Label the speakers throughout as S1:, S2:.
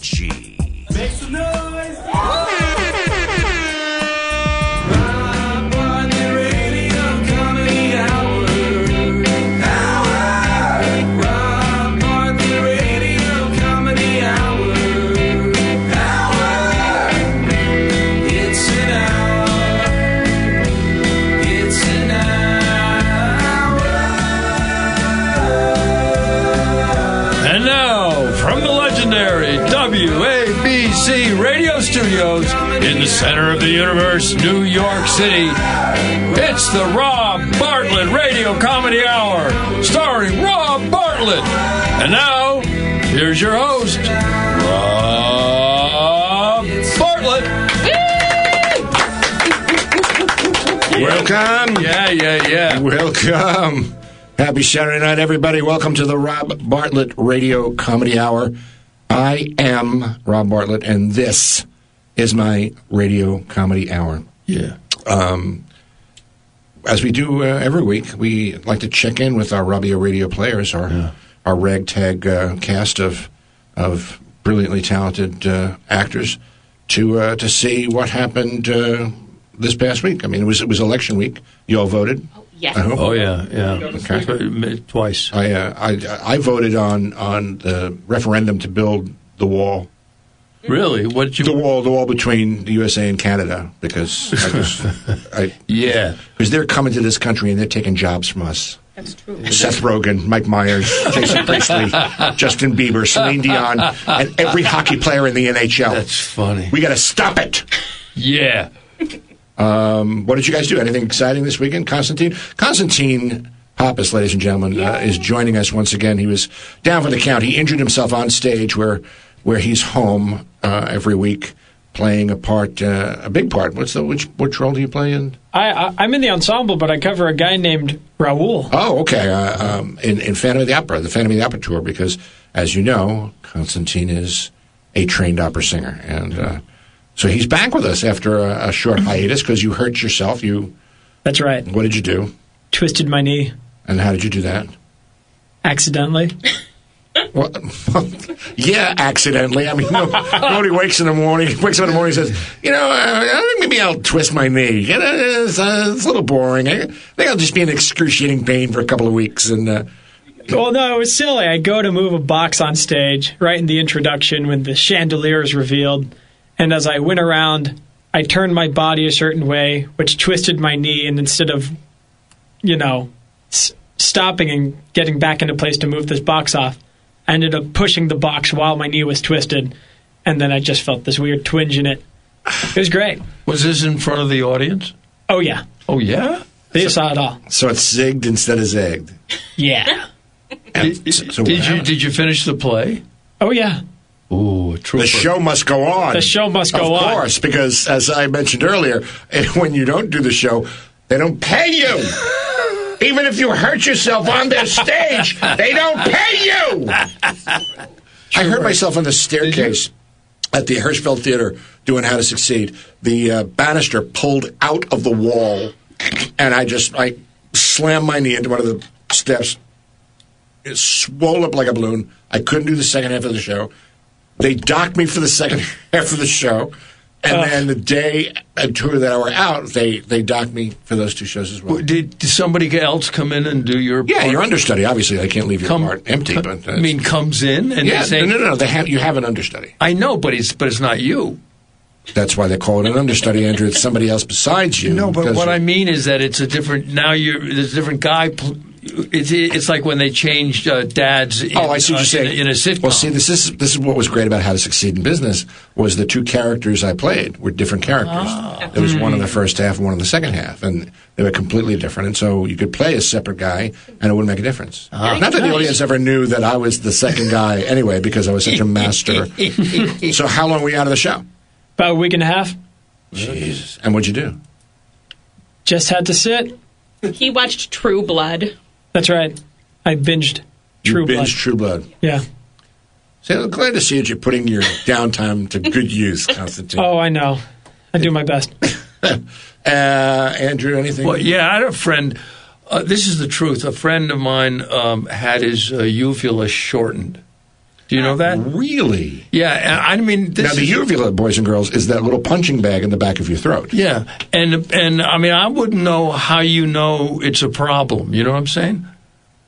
S1: G.
S2: Make some noise!
S3: And now, from the legendary WABC radio studios in the center of the universe, New York City, it's the Rob Bartlett Radio Comedy Hour, starring Rob Bartlett. And now, here's your host, Rob Bartlett.
S1: Welcome.
S3: Yeah, yeah, yeah.
S1: Welcome. Happy Saturday night, everybody. Welcome to the Rob Bartlett Radio Comedy Hour. I am Rob Bartlett, and this is my radio comedy hour.
S3: Yeah.
S1: Um, As we do uh, every week, we like to check in with our Robbio radio players, our our ragtag uh, cast of of brilliantly talented uh, actors, to uh, to see what happened uh, this past week. I mean, it was it was election week. You all voted.
S4: Yes.
S1: I hope.
S3: Oh, yeah, yeah.
S1: Okay.
S3: Twice.
S1: I, uh, I I voted on on the referendum to build the wall,
S3: Really? What did you.
S1: Mm-hmm. the wall, the wall between the USA and Canada because I just, I,
S3: Yeah.
S1: because they're coming to this country and they're taking jobs from us.
S4: That's true.
S1: Seth Rogen, Mike Myers, Jason Priestley, Justin Bieber, Celine Dion, and every hockey player in the NHL.
S3: That's funny.
S1: we got to stop it.
S3: Yeah.
S1: Um, What did you guys do? Anything exciting this weekend, Constantine? Constantine Pappas, ladies and gentlemen, uh, is joining us once again. He was down for the count. He injured himself on stage, where where he's home uh, every week playing a part, uh, a big part. What's the which which role do you play in?
S5: I, I I'm in the ensemble, but I cover a guy named Raul.
S1: Oh, okay. Uh, um, in, in Phantom of the Opera, the Phantom of the Opera tour, because as you know, Constantine is a trained opera singer, and uh, so he's back with us after a, a short hiatus because you hurt yourself. You
S5: That's right.
S1: what did you do,
S5: Twisted my knee
S1: and how did you do that?
S5: accidentally.
S1: Well, yeah, accidentally. I mean, no, nobody wakes in the morning. Wakes up in the morning and says, you know, uh, I think maybe I'll twist my knee. You know, It's, uh, it's a little boring. I, I think I'll just be in excruciating pain for a couple of weeks. And uh,
S5: well, no, it was silly. I go to move a box on stage right in the introduction when the chandelier is revealed, and as I went around, I turned my body a certain way, which twisted my knee, and instead of, you know, s- stopping and getting back into place to move this box off, I ended up pushing the box while my knee was twisted, and then I just felt this weird twinge in it. It was great.
S3: Was this in front of the audience?
S5: Oh yeah,
S3: Oh yeah.
S5: they saw it all.
S1: so it's zigged instead of zagged.
S5: Yeah.
S1: And
S3: Did,
S1: so- so what
S3: did you
S1: happened?
S3: did you finish the play?
S5: Oh yeah.
S3: Ooh, true.
S1: The show must go on.
S5: The show must go
S1: Of
S5: on.
S1: course, because as I mentioned earlier, when you don't do the show, they don't pay you. Even if you hurt yourself on their stage, they don't pay you. I heard myself on the staircase at the Hirschfeld Theater doing How to Succeed. The uh, banister pulled out of the wall, and I just I slammed my knee into one of the steps. It swole up like a balloon. I couldn't do the second half of the show. They docked me for the second half of the show. And then the day and tour that I were out, they, they docked me for those two shows as well.
S3: Did, did somebody else come in and do your?
S1: yeah,
S3: part?
S1: your understudy. Obviously, they can't leave your
S3: Come-
S1: part empty.
S3: co-
S1: but uh,
S3: I mean, comes in and
S1: yeah,
S3: they say,
S1: no, no, no. They have, you have an understudy.
S3: "I know, but it's but it's not you."
S1: That's why they call it an understudy, Andrew. It's somebody else besides you.
S3: No, but
S1: because-
S3: what I mean is that it's a different. Now you're there's a different guy. pl- It's it's like when they changed uh, dads. In,
S1: Oh, I see what
S3: uh,
S1: you're saying.
S3: In, a- in a sitcom.
S1: Well, see, this is this is what was great about How to Succeed in Business was the two characters I played were different characters.
S3: Ah.
S1: There was one in the
S3: Hmm.
S1: first half and one in the second half, and they were completely different. And so you could play a separate guy, and it wouldn't make a difference.
S3: Ah.
S1: Not that the audience ever knew that I was the second guy anyway, because I was such a master. so how long were you out of the show?
S5: About a week and a half.
S1: Jesus. And what'd you do?
S5: Just had to sit.
S4: He watched True Blood.
S5: That's right. I binged True
S1: you
S5: Blood.
S1: binged True Blood.
S5: yeah.
S1: So I'm glad to see that you're putting your downtime to good use, Constantine.
S5: Oh, I know. I do my best.
S1: Uh, Andrew, anything?
S3: Well, yeah, I had a friend. Uh, this is the truth. A friend of mine um, had his uh, uvula shortened. Do you know that?
S1: Really?
S3: Yeah, and I mean, this
S1: Now, the
S3: is-
S1: uvula, boys and girls, is that little punching bag in the back of your throat.
S3: yeah, and and I mean, I wouldn't know how you know it's a problem. You know what I'm saying?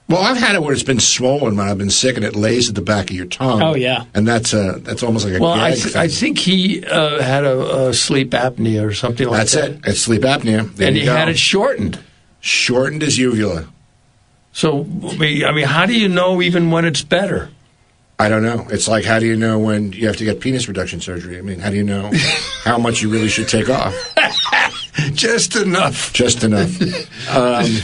S1: Well, I've had it where it's been swollen when I've been sick, and it lays at the back of your tongue.
S5: Oh, yeah.
S1: and that's uh that's almost like a
S3: Well, I
S1: gag
S3: th-
S1: thing.
S3: I think he uh, had a, a sleep apnea or something like
S1: that's
S3: that.
S1: it. It's sleep apnea. There
S3: and
S1: you
S3: he
S1: go.
S3: had it shortened.
S1: shortened his uvula.
S3: So I mean, I mean, how do you know even when it's better?
S1: I don't know. It's like how do you know when you have to get penis reduction surgery? I mean, how do you know how much you really should take off?
S3: Just enough.
S1: Just enough. Um,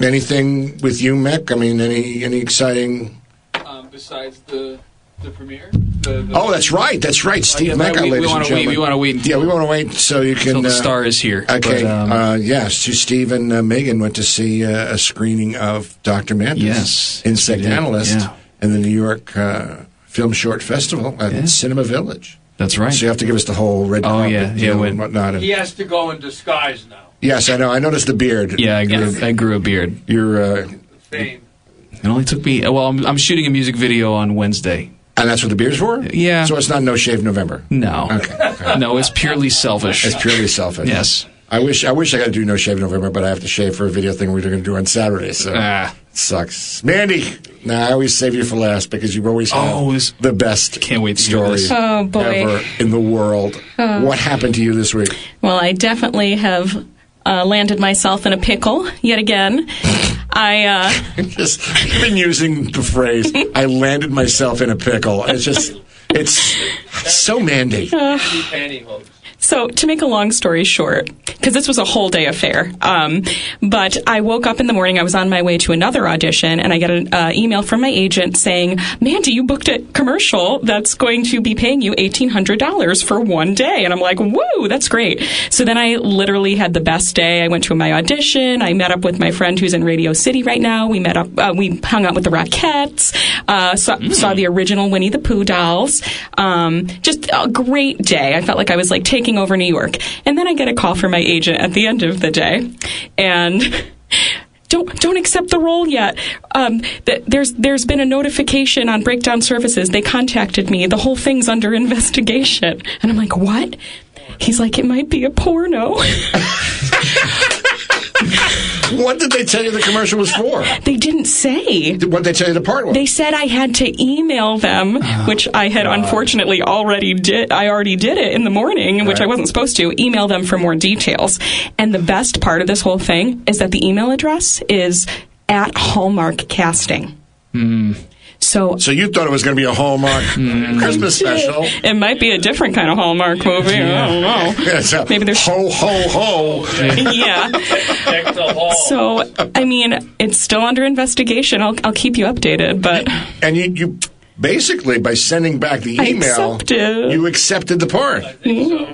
S1: anything with you, Mick? I mean, any any exciting?
S2: um, besides the the premiere. The, the
S1: Oh, that's right. That's right. Steve
S2: yeah,
S1: Mecca,
S2: we- we
S1: ladies and
S2: wanna wait-
S1: gentlemen.
S2: we wanna wait
S1: Yeah, we want to wait so you can.
S2: until the
S1: uh,
S2: star is here.
S1: Okay.
S2: But, um,
S1: uh, yes, so Steve and uh, Megan went to see uh, a screening of Dr. Mantis,
S6: Yes,
S1: Insect
S6: we did,
S1: Analyst,
S6: yeah.
S1: in the New York uh, Film Short Festival at Cinema Village.
S6: That's right.
S1: So you have to give us the whole red
S6: Oh,
S1: carpet
S6: yeah,
S1: deal
S6: yeah,
S1: and
S6: when-
S1: whatnot. And-
S7: He has to go in disguise now.
S1: Yes, I know. I noticed the beard.
S6: yeah, I grew,
S2: Yes.
S6: uh, I grew a beard.
S1: You're, uh,
S7: Fame.
S6: It only took me. Well, I'm, I'm shooting a music video on Wednesday.
S1: and that's what the beard's for.
S6: Yeah.
S1: So it's not no shave November.
S6: No,
S1: Okay.
S6: no, it's purely selfish.
S1: It's purely selfish.
S6: Yes.
S1: I wish I wish I got to do no shave November, but I have to shave for a video thing we're going to do on Saturday. So
S6: Ah.
S1: it sucks, Mandy. Now I always save you for last because you always have
S6: Oh, this-
S1: the best
S6: Can't wait to hear
S1: story
S6: this.
S4: Oh, boy. Oh.
S1: ever in the world. What happened to you this week?
S4: Well, I definitely have uh, landed myself in a pickle yet again. I uh,
S1: Just I've been using the phrase "I landed myself in a pickle." It's just it's so Mandy.
S7: Pantyhose.
S4: uh, So, to make a long story short, because this was a whole day affair, um, but I woke up in the morning. I was on my way to another audition, and I got an uh, email from my agent saying, "Mandy, you booked a commercial that's going to be paying you eighteen hundred dollars for one day." And I'm like, "Woo, that's great!" So then I literally had the best day. I went to my audition. I met up with my friend who's in Radio City right now. We met up. Uh, we hung out with the Rockettes. Uh, saw, saw the original Winnie the Pooh dolls. Um, just a great day. I felt like I was like taking over New York. And then I get a call from my agent at the end of the day, and. Don't don't accept the role yet. Um, th- there's there's been a notification on Breakdown Services. They contacted me. The whole thing's under investigation. And I'm like, what? He's like, it might be a porno.
S1: What did they tell you the commercial was for?
S4: they didn't say.
S1: What did they tell you the part was? Oh,
S4: They said I had to email them, which I had unfortunately already did. I already did it in the morning, which I wasn't supposed to. Email them for more details. And the best part of this whole thing is that the email address is at Hallmark Casting.
S6: Hmm.
S4: So
S1: so you thought it was going to be a Hallmark Christmas special.
S4: it might be a different kind of Hallmark movie. I don't know.
S1: It's a
S4: Maybe there's-
S1: ho ho ho.
S4: yeah.
S7: Check the hall.
S4: So I mean, it's still under investigation. I'll I'll keep you updated, but
S1: And you, you basically by sending back the
S4: I Mm-hmm.
S1: email,
S4: accepted.
S1: you accepted the part.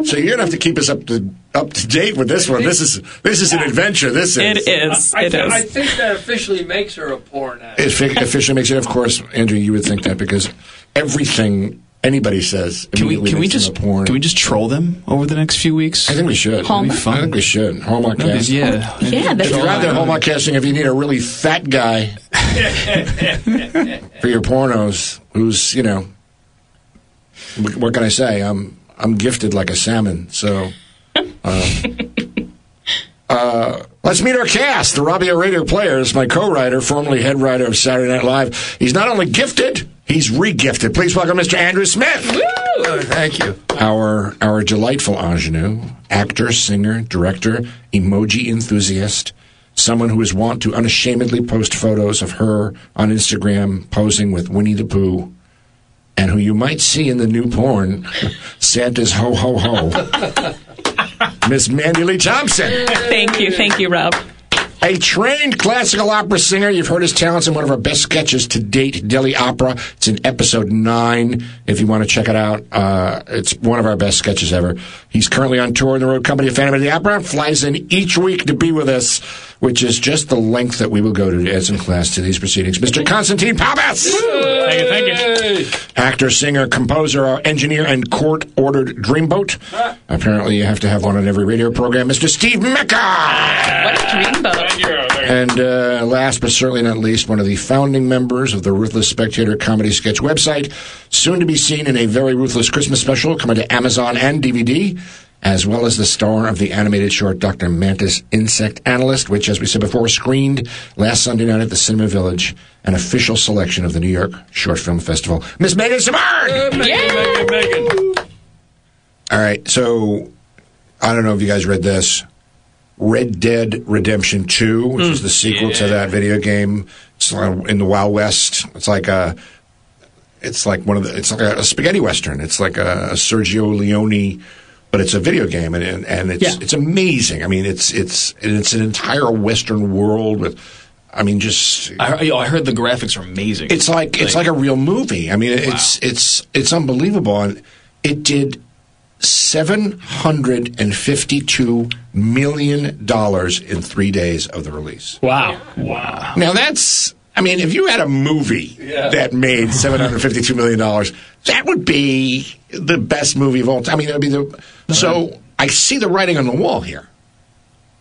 S1: So you're gonna have to keep us up to up to date with this one. This is this is an adventure. This
S4: it
S1: is.
S4: is.
S7: I,
S4: It
S7: thi- I
S4: is.
S7: think that officially makes her a porn actor.
S1: It fi- officially makes it. Of course, Andrew, you would think that because everything anybody says
S6: Can we
S1: immediately
S6: can we
S1: makes them
S6: just
S1: a porn.
S6: can we just troll them over the next few weeks?
S1: I think we should.
S4: Hallmark?
S1: I think we should. Hallmark
S6: No, 'cause,
S1: casting.
S6: yeah,
S4: Yeah,
S1: If
S4: that's
S1: you're out there Hallmark casting, if you need a really fat guy for your pornos, who's you know, wh- what can I say? I'm I'm gifted like a salmon. So, uh, uh, let's meet our cast. The Robbie Radio Players, my co-writer, formerly head writer of Saturday Night Live. He's not only gifted, he's re-gifted. Please welcome Mr. Andrew Smith
S3: Thank you.
S1: our our delightful ingenue, actor, singer, director, emoji enthusiast, someone who is wont to unashamedly post photos of her on Instagram posing with Winnie the Pooh, and who you might see in the new porn, Santa's Ho Ho Ho. Miss Mandy Lee Thompson,
S4: Thank you, thank you, Rob.
S1: a trained classical opera singer. You've heard his talents in one of our best sketches to date, Delhi Opera. It's in episode nine. If you want to check it out, uh, it's one of our best sketches ever. He's currently on tour in the Road Company of Phantom of the Opera. Flies in each week to be with us. which is just the length that we will go to as in class to these proceedings. Mr. Constantine Pappas!
S8: Thank you, thank you.
S1: actor, singer, composer, uh, engineer, and court ordered dreamboat. Apparently, you have to have one on every radio program. Mr. Steve Mecca!
S4: What a dreamboat.
S8: Thank you. Thank you.
S1: And uh, last but certainly not least, one of the founding members of the Ruthless Spectator comedy sketch website, soon to be seen in a very ruthless Christmas special coming to Amazon and DVD. As well as the star of the animated short Dr. Mantis Insect Analyst, which, as we said before, screened last Sunday night at the Cinema Village, an official selection of the New York Short Film Festival. Miss Megan Samard!
S4: Yeah.
S7: Megan, Megan.
S1: All right, so I don't know if you guys read this. Red Dead Redemption 2, which is the sequel to that video game it's like in the Wild West. It's like a it's like one of the it's like a, spaghetti western. It's like a, Sergio Leone but it's a video game and and, and it's
S5: Yeah.
S1: it's amazing. I mean, it's it's and it's an entire western world with I mean just
S8: I, I heard the graphics are amazing.
S1: it's like it's like a real movie. I mean, it's it's it's unbelievable, and it did seven hundred and fifty-two million dollars in three days of the release.
S8: wow, wow.
S1: Now that's. I mean, if you had a movie
S7: Yeah.
S1: that made seven hundred fifty-two million dollars, that would be the best movie of all time. I mean, it would be the. So I see the writing on the wall here.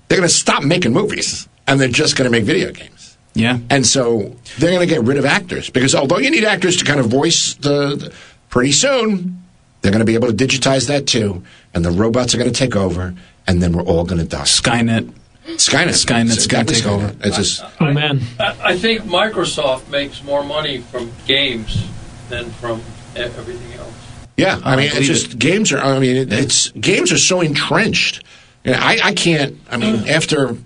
S1: They're going to stop making movies, and they're just going to make video games.
S6: Yeah.
S1: And so they're going to get rid of actors because although you need actors to kind of voice the, the- pretty soon they're going to be able to digitize that too, and the robots are going to take over, and then we're all going to die.
S6: Skynet.
S1: Skynet.
S6: Skynet's
S1: It's
S6: gonna take
S1: Skynet.
S6: over.
S1: It's just
S5: Oh man,
S7: I I think Microsoft makes more money from games than from e- everything else.
S1: yeah. I mean, it's
S6: believe
S1: just games are. I mean, it, it's games are so entrenched. You know, I I can't. I
S6: Mm.
S1: mean, after.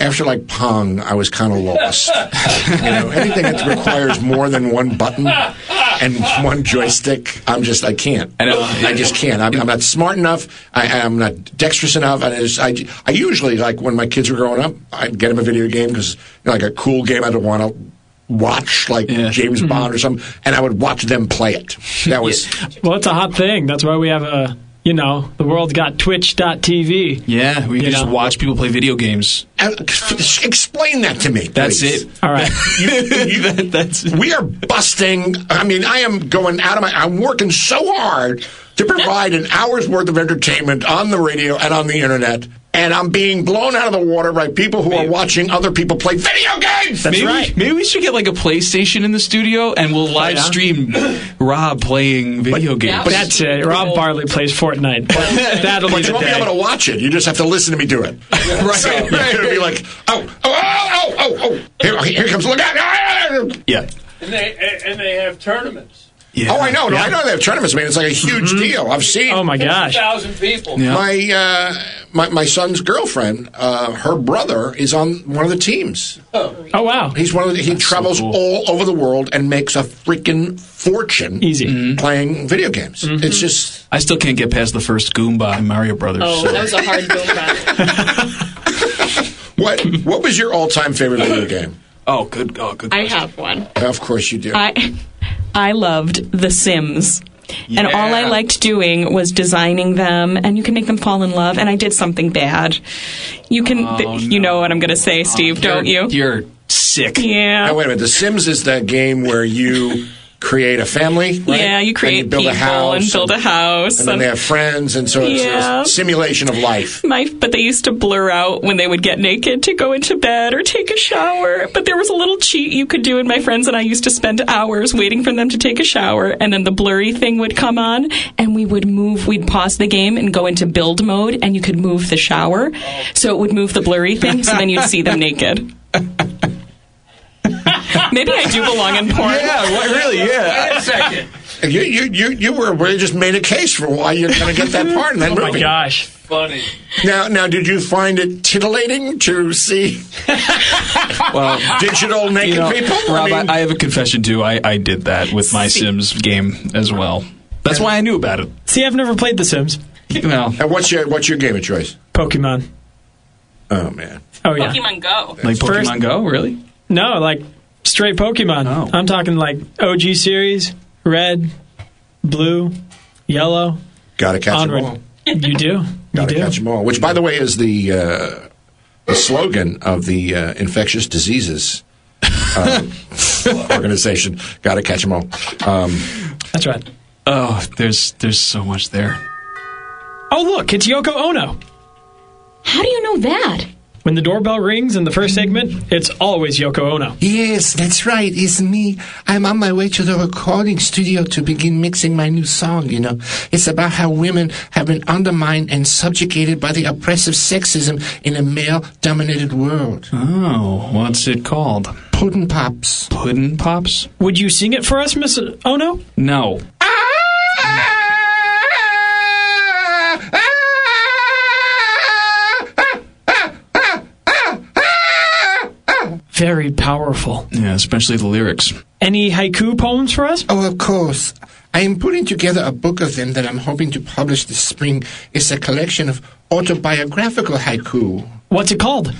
S1: After like Pong, I was kind of lost. you know, anything that requires more than one button and one joystick, I'm just I can't.
S6: I know.
S1: I just can't. I'm, I'm not smart enough. I, I'm not dexterous enough. And I, just, I, I usually like when my kids were growing up, I'd get them a video game because you know, like a cool game I'd want to watch, like
S6: Yeah. Mm-hmm.
S1: James Bond or something, and I would watch them play it. That was
S5: well it's a hot thing. That's why we have a you know the world's got Twitch.tv.
S6: Yeah, we can
S5: You
S6: just
S5: know.
S6: watch people play video games.
S1: Uh, ex- explain that to me.
S6: That's
S1: please.
S6: it.
S5: All right,
S6: That- that's it.
S1: We are busting. I mean, I am going out of my. I'm working so hard to provide an hour's worth of entertainment on the radio and on the internet, and I'm being blown out of the water by people who are watching other people play video games.
S6: maybe, Maybe we should get like a PlayStation in the studio and we'll live
S5: yeah.
S6: stream Rob playing video games.
S4: But
S5: that's it. Rob Barley plays Fortnite. That'll be
S1: But you
S5: the
S1: won't be able to
S5: day.
S1: watch it. You just have to listen to me do it. right. So you're gonna be like, oh, oh, oh, oh, oh, oh. Here, here comes. Look out! Ah!
S6: yeah.
S7: And they a- and they have tournaments.
S6: yeah. Mm-hmm.
S1: Oh, I know. No, I know they have tournaments. I mean, it's like a huge deal. I've seen.
S5: Oh my gosh.
S7: Thousand people.
S6: Yeah.
S1: my uh, my my son's girlfriend, uh, her brother is on one of the teams.
S5: Oh wow.
S1: He's one of the, he travels
S6: cool.
S1: all over the world and makes a freaking fortune
S5: Easy.
S6: Mm-hmm.
S1: playing video games.
S4: Mm-hmm.
S1: It's just
S6: I still can't get past the first Goomba in Mario Brothers.
S4: Oh,
S6: so-
S4: that was a hard Goomba.
S1: what what was your all time favorite video game?
S6: oh, good. Oh, good.
S4: I
S6: question.
S4: have one.
S1: Of course you do.
S4: I I loved The Sims. And all I
S6: Yeah.
S4: liked doing was designing them, and you can make them fall in love. And I did something bad. You can, th- you know what I'm going to
S1: Oh,
S4: say, Steve, don't you?
S6: Oh, You're- You're sick.
S1: Now,
S4: Yeah.
S1: wait a minute. The Sims is that game where you create a family. right?
S4: Yeah, you create
S1: and you build
S4: people
S1: a house
S4: and build a house.
S1: And then
S4: and-
S1: they have friends, and so it's
S4: Yeah.
S1: a simulation of life.
S4: my, but they used to blur out when they would get naked to go into bed or take a shower. But there was a little cheat you could do, and my friends and I used to spend hours waiting for them to take a shower, and then the blurry thing would come on, and we would move. We'd pause the game and go into build mode, and you could move the shower, so it would move the blurry thing, so then you'd see them naked. Maybe I do belong in porn.
S6: Yeah, what, really? Yeah.
S7: Wait a second.
S1: You you you you were really just made a case for why you're going to get that part in that
S5: Oh my
S1: movie.
S5: gosh.
S7: Funny.
S1: Now, now, did you find it titillating to see
S6: Well,
S1: digital naked
S6: you know,
S1: people?
S6: Rob, I,
S1: mean,
S6: I have a confession too. I, I did that with my
S4: See-
S6: Sims game as well. That's why I knew about it.
S5: See, I've never played The Sims.
S6: Well,
S1: and what's your what's your game of choice?
S5: Pokemon.
S1: Oh man,
S5: Oh yeah.
S4: Pokemon Go.
S6: like Pokemon
S5: First-
S6: Go, really?
S5: No, like straight Pokemon.
S6: Oh.
S5: I'm talking like OG series, red, blue, yellow.
S1: gotta catch 'em
S5: Onward.
S1: all.
S5: You do. You
S1: Gotta
S5: do.
S1: catch 'em all. Which, by the way, is the uh, the slogan of the uh, infectious diseases um, organization. Got to catch them all. Um,
S5: That's right.
S6: Oh, there's there's so much there.
S5: Oh, look, it's Yoko Ono.
S9: How do you know that?
S5: When the doorbell rings in the first segment, it's always Yoko Ono.
S1: Yes, that's right. It's me. I'm on my way to the recording studio to begin mixing my new song, you know. It's about how women have been undermined and subjugated by the oppressive sexism in a male dominated world.
S6: Oh, what's it called?
S1: Puddin' Pops.
S6: Puddin pops?
S5: Would you sing it for us, Miss Ono?
S6: No.
S5: Very powerful.
S6: Yeah, especially the lyrics.
S5: Any haiku poems for us?
S1: Oh, of course. I am putting together a book of them that I'm hoping to publish this spring. It's a collection of autobiographical haiku.
S5: What's it called?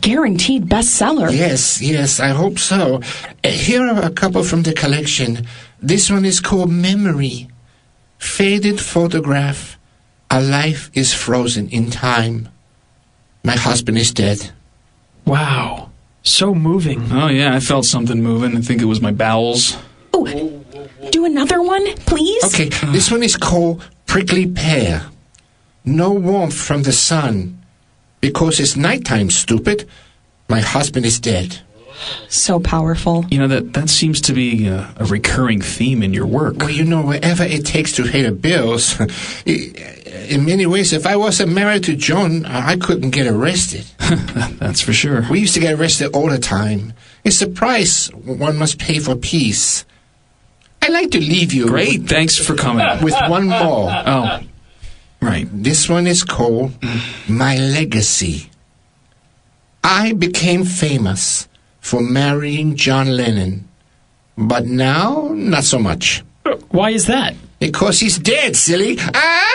S4: Guaranteed bestseller.
S1: Yes, yes, I hope so. Uh, Here are a couple from the collection. This one is called Memory. Faded photograph. Our life is frozen in time. My husband is dead.
S5: Wow. So moving.
S6: Oh yeah, I felt something moving. I think it was my bowels.
S4: Do another one, please.
S1: Okay, this one is called Prickly Pear. No warmth from the sun. Because it's nighttime, stupid. My husband is dead.
S4: So powerful.
S6: You know that that seems to be a, a recurring theme in your work.
S1: Well, you know, whatever it takes to pay the bills. i- In many ways, if I wasn't married to Joan, I I couldn't get arrested.
S6: That's for sure.
S1: We used to get arrested all the time. It's the price one must pay for peace. I'd like to leave you
S6: Great, thanks for coming.
S1: with, with one more.
S6: Oh, right.
S1: This one is called My Legacy. I became famous for marrying John Lennon, but now not so much.
S5: Why is that?
S1: Because he's dead, silly. Ah!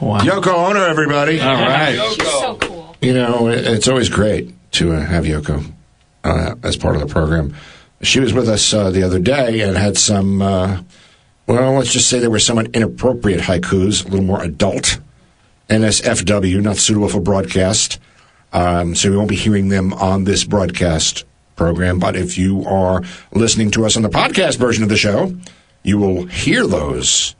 S6: Wow.
S1: Yoko Ono, everybody.
S6: All right.
S7: Yoko.
S9: cool.
S1: You know, it- it's always great to uh, have Yoko uh, as part of the program. She was with us uh, the other day and had some, uh, well, let's just say they were somewhat inappropriate haikus, a little more adult. NSFW, not suitable for broadcast. Um, so we won't be hearing them on this broadcast program. But if you are listening to us on the podcast version of the show, you will hear those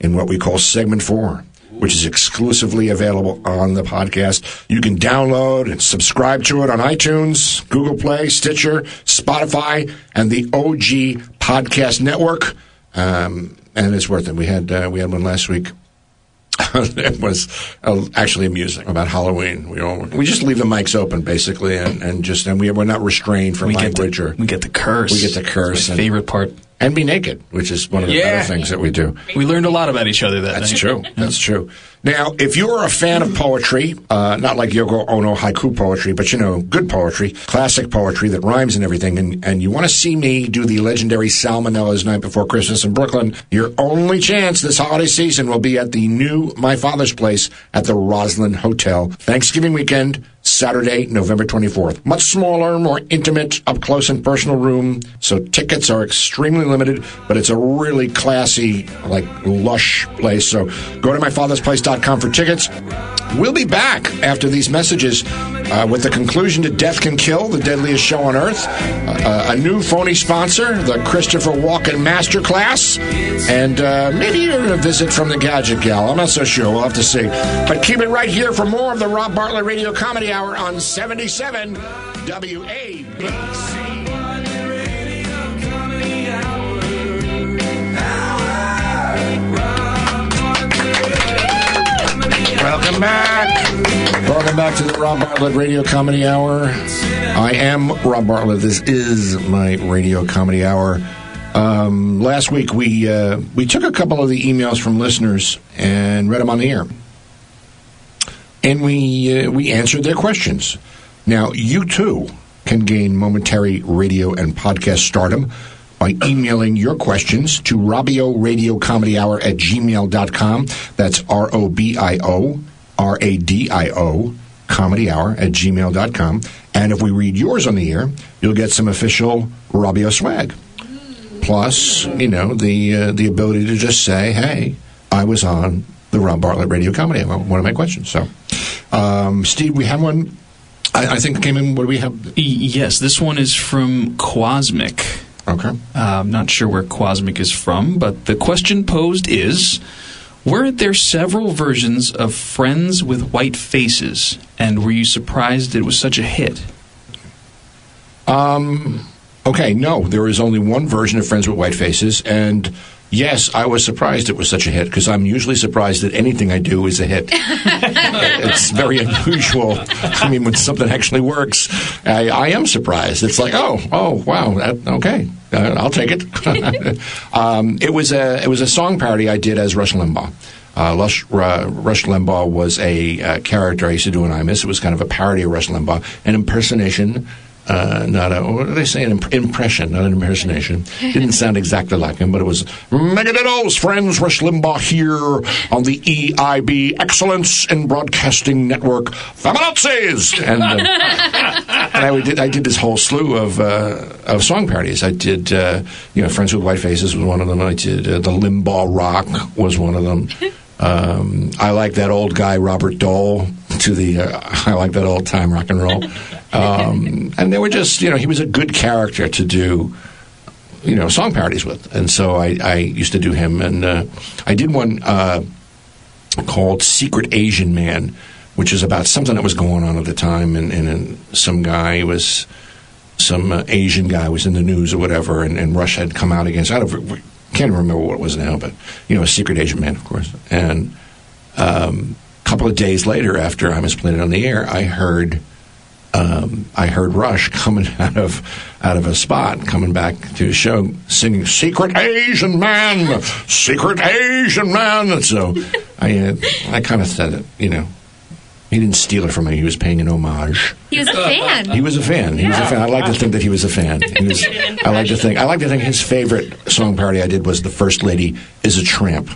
S1: in what we call segment four, which is exclusively available on the podcast. You can download and subscribe to it on iTunes, Google Play, Stitcher, Spotify, and the OG Podcast Network. Um, and it's worth it. We had uh, we had one last week. it was uh, actually amusing about Halloween. We all we just leave the mics open basically, and, and just and we we're not restrained from
S6: We get,
S1: language
S6: the,
S1: or
S6: we get the curse.
S1: We get the
S6: That's
S1: curse
S6: my
S1: and-
S6: favorite part.
S1: and be naked, which is one of the
S6: Yeah.
S1: better things that we do.
S6: We learned a lot about each other that
S1: That's
S6: night.
S1: true. That's true. Now, if you're a fan of poetry, uh, not like Yoko Ono haiku poetry, but you know, good poetry, classic poetry that rhymes and everything, and, and you want to see me do the legendary Salmonella's Night Before Christmas in Brooklyn, your only chance this holiday season will be at the new My Father's Place at the Roslyn Hotel, Thanksgiving weekend. Saturday, November 24th. Much smaller, more intimate, up close and personal room. So tickets are extremely limited, but it's a really classy, like lush place. So go to myfathersplace.com for tickets. We'll be back after these messages uh, with the conclusion to Death Can Kill, the deadliest show on earth, uh, a new phony sponsor, the Christopher Walken Masterclass, and uh, maybe even a visit from the Gadget Gal. I'm not so sure. We'll have to see. But keep it right here for more of the Rob Bartlett Radio Comedy Hour on 77 WABC. Welcome back. Welcome back to the Rob Bartlett Radio Comedy Hour. I am Rob Bartlett. This is my Radio Comedy Hour. Um, last week we uh, we took a couple of the emails from listeners and read them on the air, and we uh, we answered their questions. Now you too can gain momentary radio and podcast stardom by emailing your questions to Robbio Radio Comedy Hour at gmail.com. That's R O B I O R A D I O comedyhour at gmail.com. And if we read yours on the air, you'll get some official Robbio swag. Plus, you know, the, uh, the ability to just say, hey, I was on the Rob Bartlett Radio Comedy Hour, one of my questions. So, um, Steve, we have one. I, I think it came in. What do we have?
S6: E- yes, this one is from Quasmic.
S1: Okay.
S6: Uh, I'm not sure where Quasmic is from, but the question posed is Were there several versions of Friends with White Faces, and were you surprised it was such a hit?
S1: Um, Okay, no, there is only one version of Friends with White Faces, and yes, I was surprised it was such a hit because I'm usually surprised that anything I do is a hit. it's very unusual. I mean, when something actually works, I, I am surprised. It's like, oh, oh, wow, that- okay, uh, I'll take it. um, it was a it was a song parody I did as Rush Limbaugh. Uh, Lush, uh, Rush Limbaugh was a uh, character I used to do in I Miss. It was kind of a parody of Rush Limbaugh, an impersonation uh, not a what did they say an imp- impression, not an impersonation. Didn't sound exactly like him, but it was Megadettos, friends, Rush Limbaugh here on the EIB Excellence in Broadcasting Network, Feminazis, and, uh, and I did I did this whole slew of uh, of song parodies. I did uh, you know Friends with White Faces was one of them. I did uh, the Limbaugh Rock was one of them. Um, I like that old guy Robert Dole to the uh, I like that old time rock and roll. Um, and they were just you know he was a good character to do you know song parodies with, and so I, I used to do him, and uh, I did one uh, called Secret Asian Man, which is about something that was going on at the time, and, and, and some guy was some uh, Asian guy was in the news or whatever, and, and Rush had come out against. I don't can't even remember what it was now, but you know, a secret Asian man, of course. And um, a couple of days later, after I was playing it on the air, I heard um, I heard Rush coming out of out of a spot, coming back to his show, singing "Secret Asian Man, Secret Asian Man." And so I uh, I kind of said it, you know. He didn't steal it from me. He was paying an homage.
S9: He was a fan.
S1: He was a fan. He was a fan. I like to think that he was a fan. He was, I like to think. I like to think his favorite song parody I did was "The First Lady Is a Tramp."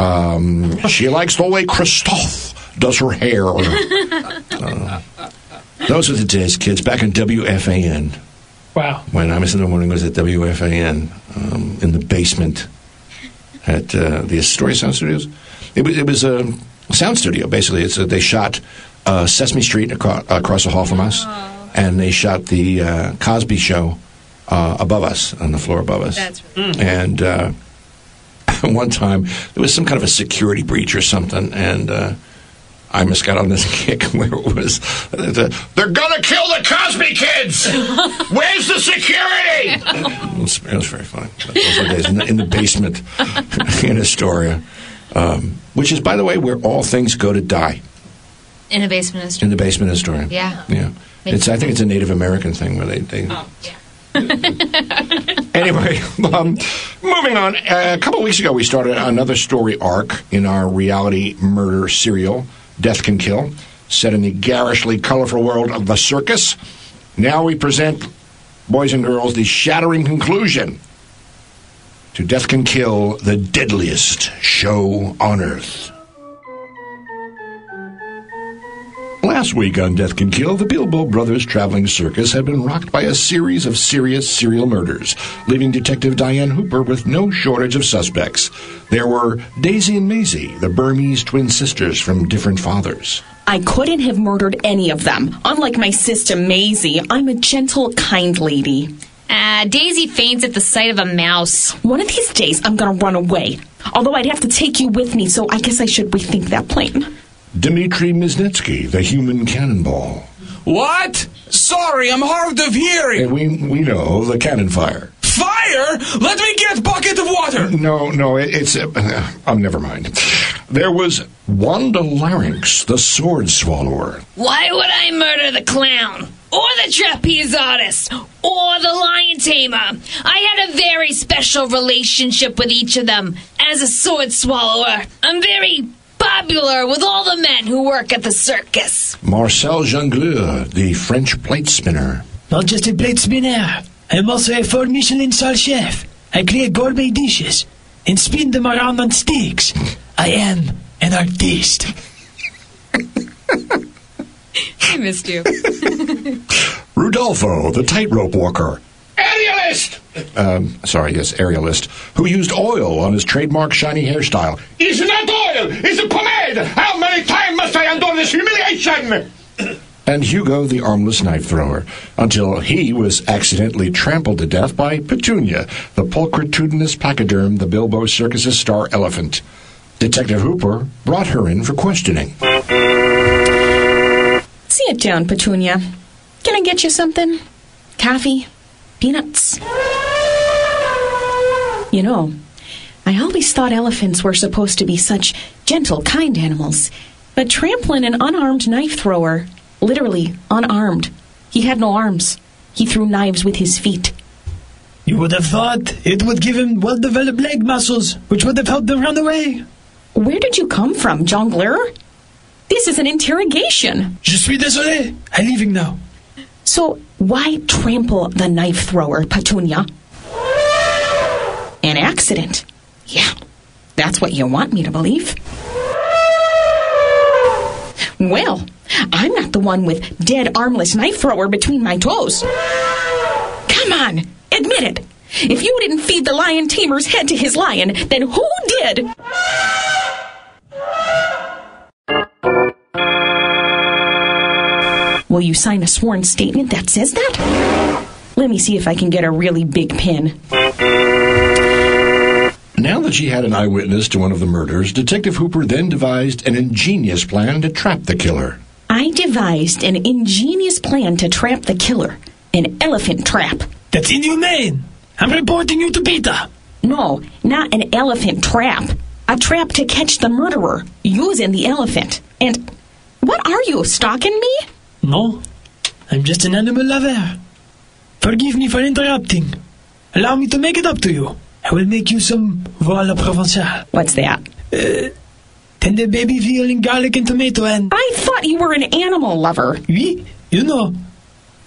S1: Um, she likes the way Christoph does her hair. Uh, those were the days, kids. Back in WFAN,
S5: Wow.
S1: when I was in the morning, was at WFAN um, in the basement at uh, the Astoria Sound Studios. It was it was a sound studio basically. It's a, they shot uh, Sesame Street across, across the hall from us, and they shot the uh, Cosby Show uh, above us on the floor above us.
S10: That's
S1: And uh, one time there was some kind of a security breach or something, and. Uh, I just got on this kick where it was, they're gonna kill the Cosby kids! Where's the security? It was, it was very funny. Those were days in, the, in the basement in Astoria, um, which is, by the way, where all things go to die
S10: In a basement instrument.
S1: in the basement in Astoria.
S10: Yeah.
S1: yeah. It's I think it's a Native American thing where they. they anyway, um, moving on. Uh, a couple weeks ago, we started another story arc in our reality murder serial, Death Can Kill, set in the garishly colorful world of the circus. Now we present, boys and girls, the shattering conclusion to Death Can Kill, the deadliest show on earth. Last week on Death Can Kill, the Bilbo Brothers traveling circus had been rocked by a series of serious serial murders, leaving Detective Diane Hooper with no shortage of suspects. There were Daisy and Maisie, the Burmese twin sisters from different fathers.
S9: I couldn't have murdered any of them. Unlike my sister Maisie, I'm a gentle, kind lady.
S10: Uh, Daisy faints at the sight of a mouse.
S9: One of these days, I'm gonna run away. Although I'd have to take you with me, so I guess I should rethink that plan.
S1: Dmitri Miznitsky, the human cannonball.
S8: What? Sorry, I'm hard of hearing.
S1: And we, we know the cannon fire.
S8: Fire! Let me get bucket of water.
S1: No, no, it, it's. Uh, um, never mind. There was Wanda Larynx, the sword swallower.
S10: Why would I murder the clown? Or the trapeze artist? Or the lion tamer? I had a very special relationship with each of them as a sword swallower. I'm very popular with all the men who work at the circus.
S1: Marcel Jongleur, the French plate spinner.
S5: Not just a plate spinner. I'm also a four Michelin star chef. I create gourmet dishes and spin them around on sticks. I am an artist.
S11: missed you.
S1: Rudolfo, the tightrope walker.
S12: Aerialist!
S1: Um, sorry, yes, aerialist, who used oil on his trademark shiny hairstyle.
S12: It's not oil! It's a pomade! How many times must I endure this humiliation?
S1: And Hugo, the armless knife thrower, until he was accidentally trampled to death by Petunia, the pulcritudinous pachyderm, the Bilbo Circus's star elephant. Detective Hooper brought her in for questioning.
S9: Sit down, Petunia. Can I get you something? Coffee? Peanuts? You know, I always thought elephants were supposed to be such gentle, kind animals. But trampling an unarmed knife thrower, literally unarmed, he had no arms. He threw knives with his feet.
S13: You would have thought it would give him well developed leg muscles, which would have helped him run away.
S9: Where did you come from, jongleur? This is an interrogation.
S13: Je suis désolé. I'm leaving now.
S9: So, why trample the knife thrower, Petunia? An accident. Yeah, that's what you want me to believe. Well, I'm not the one with dead armless knife thrower between my toes. Come on, admit it. If you didn't feed the lion tamer's head to his lion, then who did? Will you sign a sworn statement that says that? Let me see if I can get a really big pin.
S1: Now that she had an eyewitness to one of the murders, Detective Hooper then devised an ingenious plan to trap the killer.
S9: I devised an ingenious plan to trap the killer an elephant trap.
S13: That's inhumane. I'm reporting you to PETA.
S9: No, not an elephant trap. A trap to catch the murderer using the elephant. And what are you, stalking me?
S13: No, I'm just an animal lover. Forgive me for interrupting. Allow me to make it up to you. I will make you some voile provençal.
S9: What's that?
S13: Uh, tender baby veal in garlic and tomato and.
S9: I thought you were an animal lover.
S13: Oui, you know.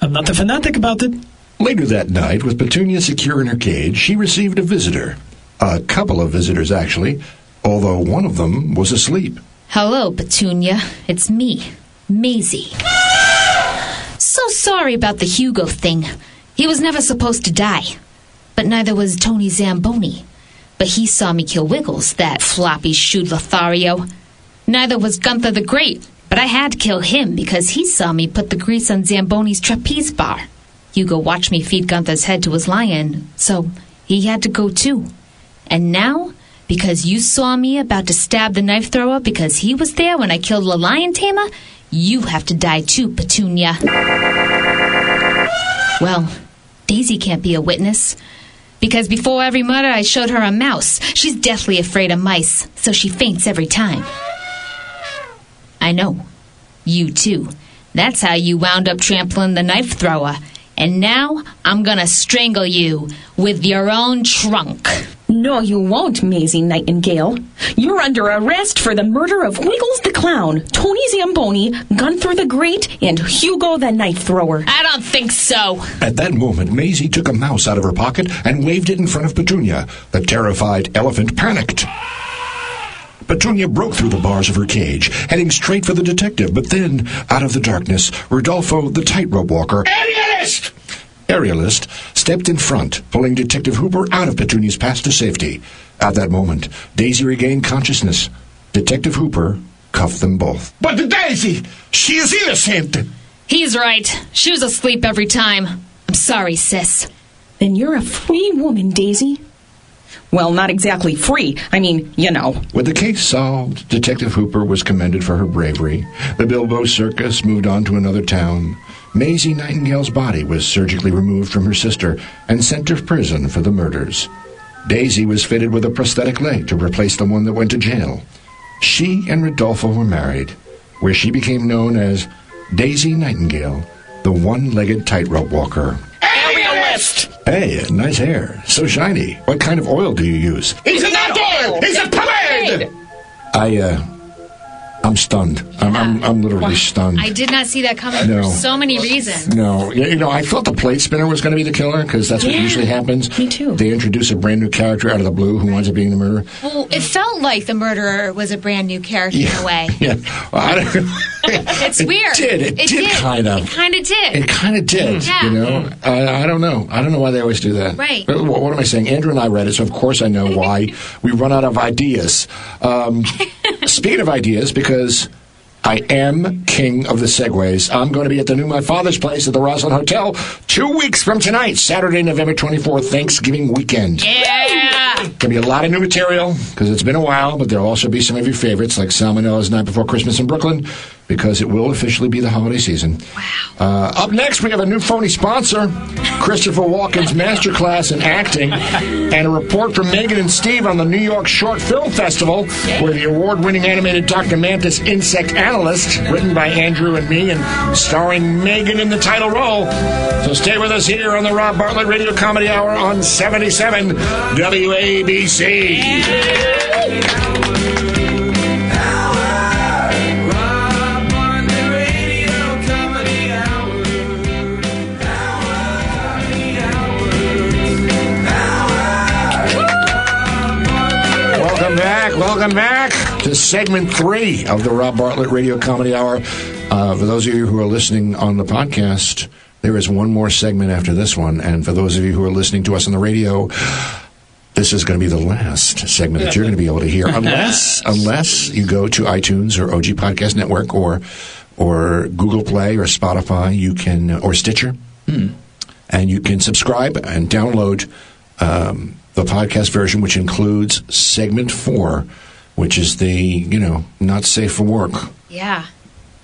S13: I'm not a fanatic about it.
S1: Later that night, with Petunia secure in her cage, she received a visitor. A couple of visitors, actually, although one of them was asleep.
S11: Hello, Petunia. It's me, Maisie. So sorry about the Hugo thing. He was never supposed to die. But neither was Tony Zamboni. But he saw me kill Wiggles, that floppy shoed Lothario. Neither was Gunther the Great, but I had to kill him because he saw me put the grease on Zamboni's trapeze bar. Hugo watched me feed Gunther's head to his lion, so he had to go too. And now, because you saw me about to stab the knife thrower because he was there when I killed the lion tamer, you have to die too, Petunia. Well, Daisy can't be a witness. Because before every murder, I showed her a mouse. She's deathly afraid of mice, so she faints every time. I know. You too. That's how you wound up trampling the knife thrower. And now I'm gonna strangle you with your own trunk.
S9: No, you won't, Maisie Nightingale. You're under arrest for the murder of Wiggles the Clown, Tony Zamboni, Gunther the Great, and Hugo the Knife Thrower.
S11: I don't think so.
S1: At that moment, Maisie took a mouse out of her pocket and waved it in front of Petunia. The terrified elephant panicked. Petunia broke through the bars of her cage, heading straight for the detective, but then, out of the darkness, Rodolfo, the tightrope walker,
S12: Aerialist!
S1: aerialist, stepped in front, pulling Detective Hooper out of Petunia's path to safety. At that moment, Daisy regained consciousness. Detective Hooper cuffed them both.
S12: But Daisy, she is innocent.
S11: He's right. She was asleep every time. I'm sorry, sis.
S9: Then you're a free woman, Daisy. Well, not exactly free. I mean, you know.
S1: With the case solved, Detective Hooper was commended for her bravery. The Bilbo Circus moved on to another town. Maisie Nightingale's body was surgically removed from her sister and sent to prison for the murders. Daisy was fitted with a prosthetic leg to replace the one that went to jail. She and Rodolfo were married, where she became known as Daisy Nightingale, the one legged tightrope walker.
S12: Aerialist!
S1: Hey, nice hair. So shiny. What kind of oil do you use?
S12: It's not oil! It's a pomade!
S1: I, uh, I'm stunned. I'm, I'm, I'm literally stunned.
S12: I did not see that coming
S1: No.
S12: for so many reasons.
S1: No, you you know, I thought the plate spinner was going to be the killer because that's what
S12: Yeah,
S1: usually happens.
S14: Me too.
S1: They introduce a brand new character out of the blue who winds up being the murderer.
S11: Well, it felt like the murderer was a brand new character in a way.
S1: Yeah, Well, I don't,
S11: It's
S1: It
S11: weird.
S1: did. It did kind of.
S11: It kind of did.
S1: it kind of did.
S11: Yeah.
S1: You know, I, I don't know. I don't know why they always do that.
S11: Right.
S1: But what, what am I saying? Andrew and I read it, so of course I know why we run out of ideas. Um, speaking of ideas, because. I am king of the segways. I'm going to be at the new My Father's Place at the Roslyn Hotel two weeks from tonight, Saturday, November 24th, Thanksgiving weekend.
S12: Yeah.
S1: There'll be a lot of new material because it's been a while, but there'll also be some of your favorites like Salmonella's Night Before Christmas in Brooklyn because it will officially be the holiday season. Wow. Uh, up next, we have a new phony sponsor Christopher Walken's Masterclass in Acting and a report from Megan and Steve on the New York Short Film Festival where the award winning animated Dr. Mantis Insect Analyst, written by Andrew and me and starring Megan in the title role. So stay with us here on the Rob Bartlett Radio Comedy Hour on 77 WABC. Welcome back. Welcome back to segment three of the Rob Bartlett Radio Comedy Hour. Uh, for those of you who are listening on the podcast, there is one more segment after this one. And for those of you who are listening to us on the radio, this is going to be the last segment that you're going to be able to hear, unless unless you go to iTunes or OG Podcast Network or or Google Play or Spotify, you can or Stitcher and you can subscribe and download um, the podcast version, which includes segment four, which is the you know not safe for work
S11: Yeah.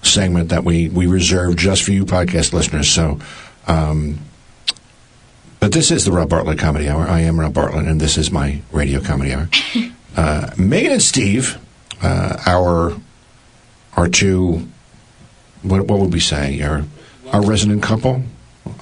S1: segment that we we reserve just for you podcast listeners. So, um, but this is the Rob Bartlett Comedy Hour. I am Rob Bartlett, and this is my radio comedy hour. uh, Megan and Steve, uh, our our two, what what would we say? Our our resident couple.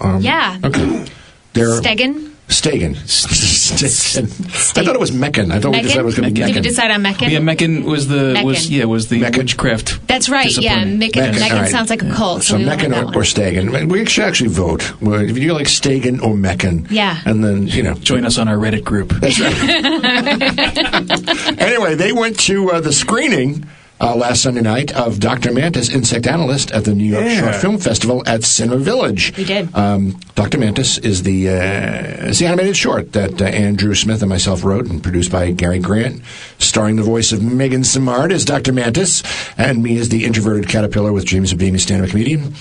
S1: Um,
S11: Yeah.
S1: Okay. They're
S11: Stegen.
S1: Stegen. Stegen. I thought it was Meccan. I thought we decided it was going to be
S11: Did we
S1: Meccan.
S11: decide on Meccan?
S6: Yeah, Meccan was the was
S11: Meccan.
S6: yeah was the witchcraft.
S11: That's right. Yeah, Meccan, Meccan, sounds like a cult. Oh, So,
S1: So
S11: we went with
S1: Meccan
S11: that
S1: or, or Stegen. We should actually vote. Well, If you like Stegen or Meccan.
S11: Yeah.
S1: And then, you know.
S6: Join us on our Reddit group.
S1: That's right. anyway, they went to uh, the screening uh, last Sunday night of Dr. Mantis, Insect Analyst, at the New York
S9: Yeah.
S1: Short Film Festival at Cinema Village.
S9: We did.
S1: Um, Dr. Mantis is the, uh, is the animated short that uh, Andrew Smith and myself wrote and produced by Gary Grant, starring the voice of Megan Simard as Dr. Mantis, and me as the introverted caterpillar with James Beam, a stand-up comedian.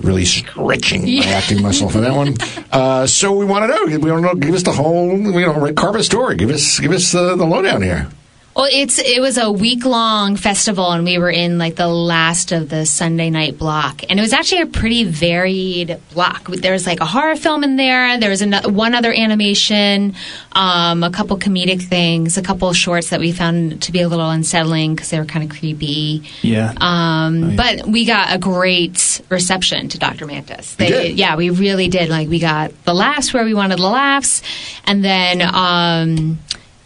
S1: Really stretching my acting muscle for that one. Uh, so we want to know. We want to know. Give us the whole, you know, red carpet story. Give us, give us the, the lowdown here.
S11: Well, it's it was a week long festival, and we were in like the last of the Sunday night block, and it was actually a pretty varied block. There was like a horror film in there. There was ano- one other animation, um, a couple comedic things, a couple shorts that we found to be a little unsettling because they were kind of creepy.
S6: Yeah.
S11: Um, But we got a great reception to Dr. Mantis.
S12: You
S11: They,
S12: did?
S11: Yeah, we really did. Like we got the laughs where we wanted the laughs, and then um,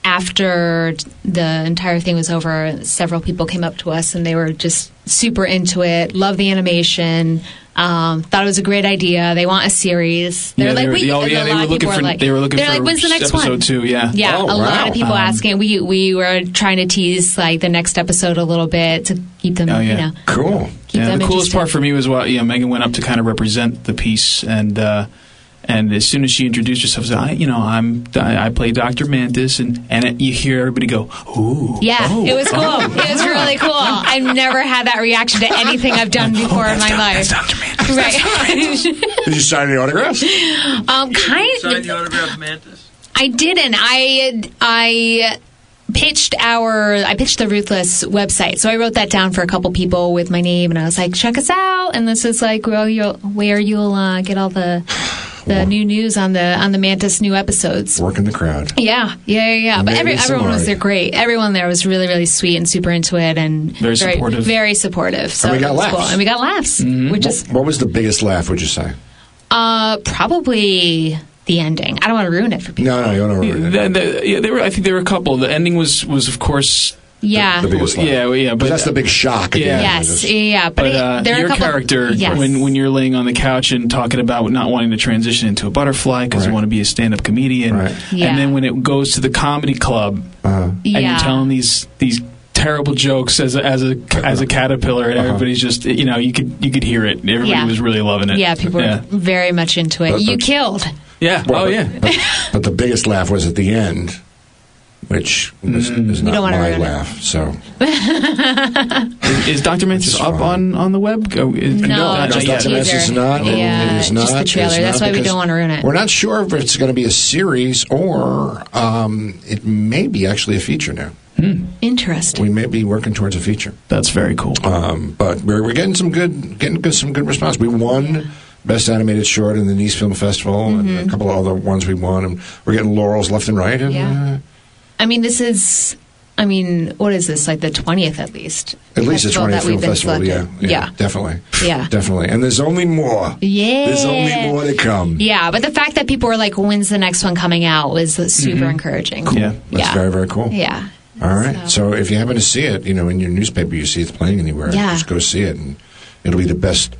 S11: after the entire thing was over, several people came up to us and they were just super into it. Loved the animation. Um, thought it was a great idea. They want a series. They're
S6: Yeah,
S11: like,
S6: they were-
S11: we.
S6: oh,
S11: and
S6: yeah,
S11: a
S6: they
S11: lot
S6: were
S11: of
S6: looking
S11: people
S6: for-
S11: like,
S6: they were looking
S11: they're
S6: for
S11: like, when's the next
S6: episode
S11: one?
S6: two, yeah.
S11: yeah.
S6: Oh,
S11: a lot
S6: wow.
S11: of people
S6: Um,
S11: asking. We we were trying to tease like the next episode a little bit to keep them,
S6: Oh yeah,
S11: you know,
S1: cool.
S11: Keep
S6: yeah,
S11: them
S6: the coolest
S11: interested.
S6: part for me was what you know, Megan went up to kind of represent the piece, and uh, and as soon as she introduced herself, she said, I you know I'm I, I play Doctor Mantis, and and it, you hear everybody go, ooh,
S11: Yeah,
S6: oh,
S11: it was cool.
S6: oh."
S11: It was really cool. I've never had that reaction to anything I've done before in my life. right.
S1: Did you sign the autographs?
S11: um, kind
S15: Sign the autograph, Mantis.
S11: I didn't. I I pitched our I pitched the Ruthless website. So I wrote that down for a couple people with my name, and I was like, check us out. And this is like where you'll where you'll uh, get all the the new news on the on the Mantis new episodes.
S1: Working the crowd.
S11: Yeah, yeah, yeah. yeah. But
S1: Maybe
S11: every,
S1: some
S11: everyone was
S1: art.
S11: there great. Everyone there was really, really sweet and super into it and
S1: Very supportive.
S11: Very supportive. So
S1: we got
S11: it was
S1: laughs. Mm-hmm.
S11: Cool. And we got laughs, which is
S1: What, was the biggest laugh? Would you say?
S11: uh, probably the ending. I don't want to ruin it for people.
S1: No, no, you don't
S6: Yeah, the- the- yeah, there were. I think there were a couple. The ending was was of course
S11: Yeah.
S1: the biggest laugh.
S6: Yeah, well, yeah,
S1: but that's the big shock. At
S6: Yeah.
S1: the end.
S11: Yes. Yeah. But,
S6: But,
S11: it-
S6: uh,
S11: there are
S6: your
S11: a couple.
S6: character,
S11: Yes.
S6: when when you're laying on the couch and talking about not wanting to transition into a butterfly because you want to be a stand-up comedian,
S11: Yeah.
S6: and then when it goes to the comedy club and
S11: Yeah.
S6: you're telling these these terrible jokes as a, as a as a caterpillar, and everybody's just you know you could you could hear it. Everybody
S11: Yeah.
S6: was really loving it.
S11: Yeah, people
S6: Yeah.
S11: are very much into it.
S1: That-
S11: you
S1: that's-
S11: killed.
S6: Yeah. oh yeah.
S1: But, but the biggest laugh was at the end, which is, is
S11: You
S1: not
S11: Mm-hmm. don't wanna
S1: my
S11: ruin it.
S1: laugh. So
S6: is, is Dr. Mantis up on, on the web? Go- is-
S11: No,
S6: not
S1: Just
S6: yet.
S1: Dr. Mess is not.
S11: Yeah,
S1: it is
S11: just
S1: not.
S11: the
S1: It is
S11: trailer. That's
S1: not
S11: why we
S1: because
S11: don't wanna ruin it.
S1: We're not sure if it's going to be a series or um, it may be actually a feature now.
S11: Hmm. Interesting.
S1: We may be working towards a feature.
S6: That's very cool.
S1: Um, but we're, we're getting some good getting good, some good response. We won best animated short in the Nice Film Festival,
S11: Mm-hmm.
S1: and a couple of other ones we won, and we're getting laurels left and right. And,
S11: Yeah. I mean, this is. I mean, what is this? Like the twentieth, at least.
S1: At least it's
S11: Festival
S1: 20th
S11: that we've
S1: Film
S11: been
S1: Festival. Yeah,
S11: selected.
S1: yeah,
S11: Yeah.
S1: Definitely.
S11: Yeah.
S1: Definitely. And there's only more.
S11: Yeah.
S1: There's only more to come.
S11: Yeah, but the fact that people were like, "When's the next one coming out?" was super encouraging.
S6: Yeah.
S1: That's
S11: Yeah.
S1: very, very cool.
S11: Yeah.
S1: All right. So. if you happen to see it, you know, in your newspaper, you see it's playing anywhere,
S11: Yeah.
S1: just go see it, and it'll be the best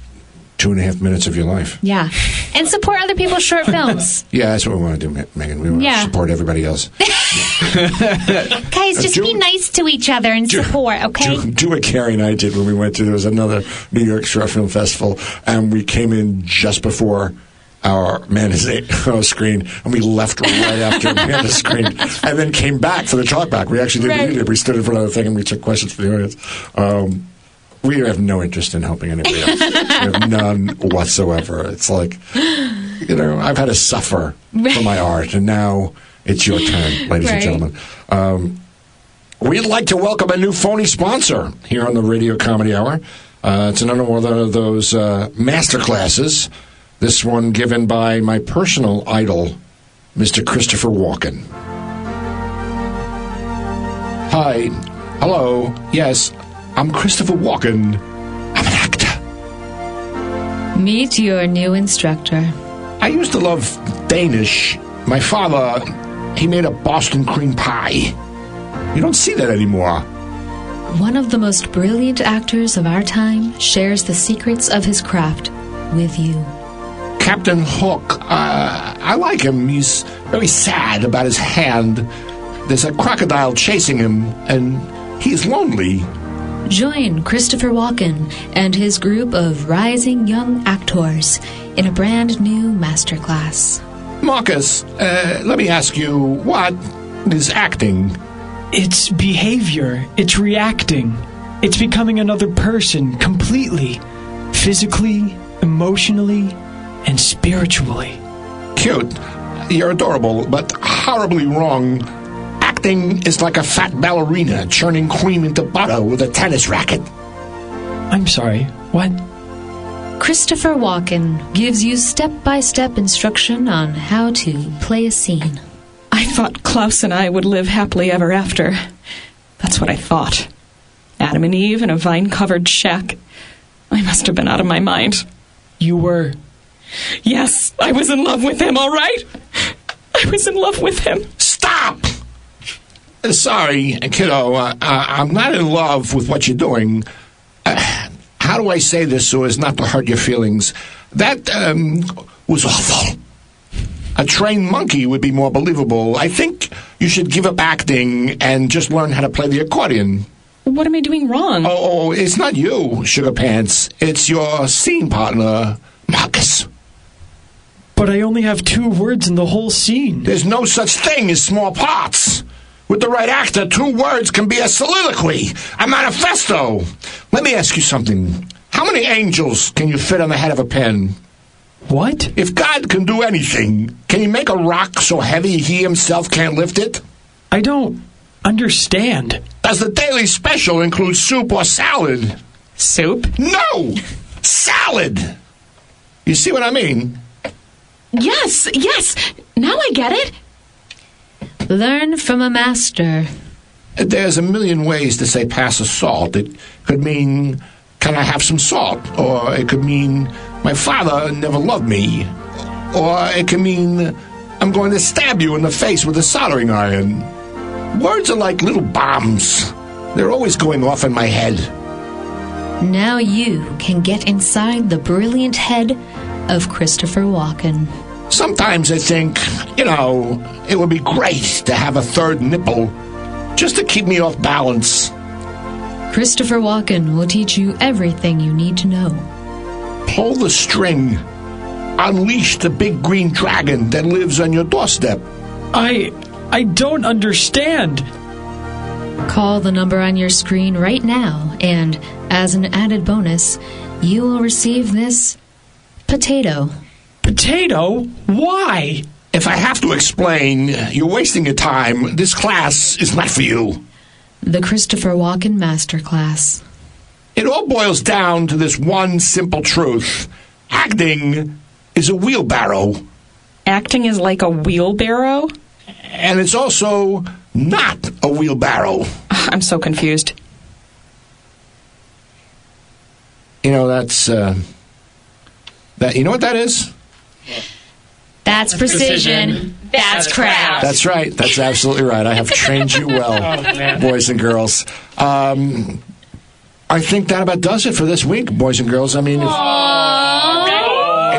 S1: two and a half minutes of your life.
S11: Yeah. And support other people's short films.
S1: Yeah, that's what we want to do, Ma- Megan. We want
S11: Yeah.
S1: to support everybody else.
S11: Guys, just be nice to each other and support, okay?
S1: Do, do what Carrie and I did when we went to there was another New York Short Film Festival, and we came in just before our Manizano screen, and we left right after Amanda's screen, and then came back for the talk back. We actually did what
S11: Right.
S1: you did. We stood in front of the thing and we took questions from the audience. Um, we have no interest in helping anybody else. we have none whatsoever. It's like, you know, I've had to suffer for my art, and now it's your turn, ladies
S3: Right.
S1: and gentlemen. Um, We'd like to welcome a new phony sponsor here on the Radio Comedy Hour. Uh, it's another one of those uh, master classes. This one given by my personal idol, Mr. Christopher Walken. Hi. Hello. Yes, I'm Christopher Walken.
S11: Meet your new instructor.
S1: I used to love Danish. My father, he made a Boston cream pie. You don't see that anymore.
S11: One of the most brilliant actors of our time shares the secrets of his craft with you.
S1: Captain Hook. Uh, I like him. He's very sad about his hand. There's a crocodile chasing him, and he's lonely.
S11: Join Christopher Walken and his group of rising young actors in a brand new masterclass.
S1: Marcus, uh, let me ask you, what is acting?
S5: It's behavior. It's reacting. It's becoming another person completely, physically, emotionally, and spiritually.
S1: Cute. You're adorable, but horribly wrong. Acting is like a fat ballerina churning cream into butter with a tennis racket.
S5: I'm sorry. What?
S11: Christopher Walken gives you step by step instruction on how to play a scene.
S4: I thought Klaus and I would live happily ever after. That's what I thought. Adam and Eve in a vine covered shack. I must have been out of my mind.
S5: You were.
S4: Yes, I was in love with him, all right? I was in love with him.
S1: Stop! Uh, Sorry, kiddo. Uh, I- I'm not in love with what you're doing. Uh, how do I say this so as not to hurt your feelings? That um, was awful. A trained monkey would be more believable. I think you should give up acting and just learn how to play the accordion.
S4: What am I doing wrong?
S1: Oh, oh it's not you, Sugar Pants. It's your scene partner, Marcus.
S5: But I only have two words in the whole scene.
S1: There's no such thing as small parts. With the right actor, two words can be a soliloquy, a manifesto. Let me ask you something. How many angels can you fit on the head of a pen?
S5: What?
S1: If God can do anything, can he make a rock so heavy he himself can't lift it?
S5: I don't understand.
S1: Does the daily special include soup or salad?
S4: Soup?
S1: No! Salad! You see what I mean?
S16: Yes, yes. Now I get it.
S11: Learn from a master.
S1: There's a million ways to say pass a salt. It could mean, can I have some salt? Or it could mean, my father never loved me. Or it could mean, I'm going to stab you in the face with a soldering iron. Words are like little bombs. They're always going off in my head.
S11: Now you can get inside the brilliant head of Christopher Walken.
S1: Sometimes I think, you know, it would be great to have a third nipple just to keep me off balance.
S11: Christopher Walken will teach you everything you need to know.
S1: Pull the string. Unleash the big green dragon that lives on your doorstep.
S5: I I don't understand.
S11: Call the number on your screen right now, and as an added bonus, you will receive this potato.
S5: Potato? Why?
S1: If I have to explain, you're wasting your time. This class is not for you.
S11: The Christopher Walken Masterclass.
S1: It all boils down to this one simple truth acting is a wheelbarrow.
S4: Acting is like a wheelbarrow?
S1: And it's also not a wheelbarrow.
S4: I'm so confused.
S1: You know, that's. Uh, that, you know what that is?
S11: That's precision. That's craft.
S1: That's right. That's absolutely right. I have trained you well,
S11: Oh, man.
S1: boys and girls. Um, I think that about does it for this week, boys and girls. I mean,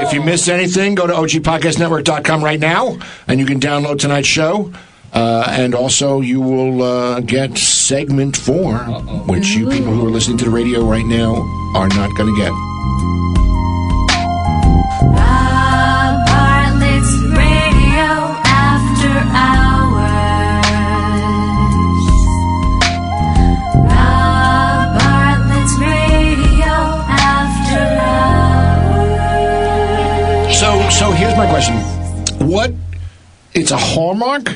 S1: if, if you missed anything, go to ogpodcastnetwork.com right now, and you can download tonight's show. Uh, and also, you will uh, get segment 4 which you people who are listening to the radio right now are not going to get.
S12: Bob Bartlett's Radio After Hours. Bob Bartlett's Radio After Hours.
S1: So, so here's my question: What? It's a hallmark.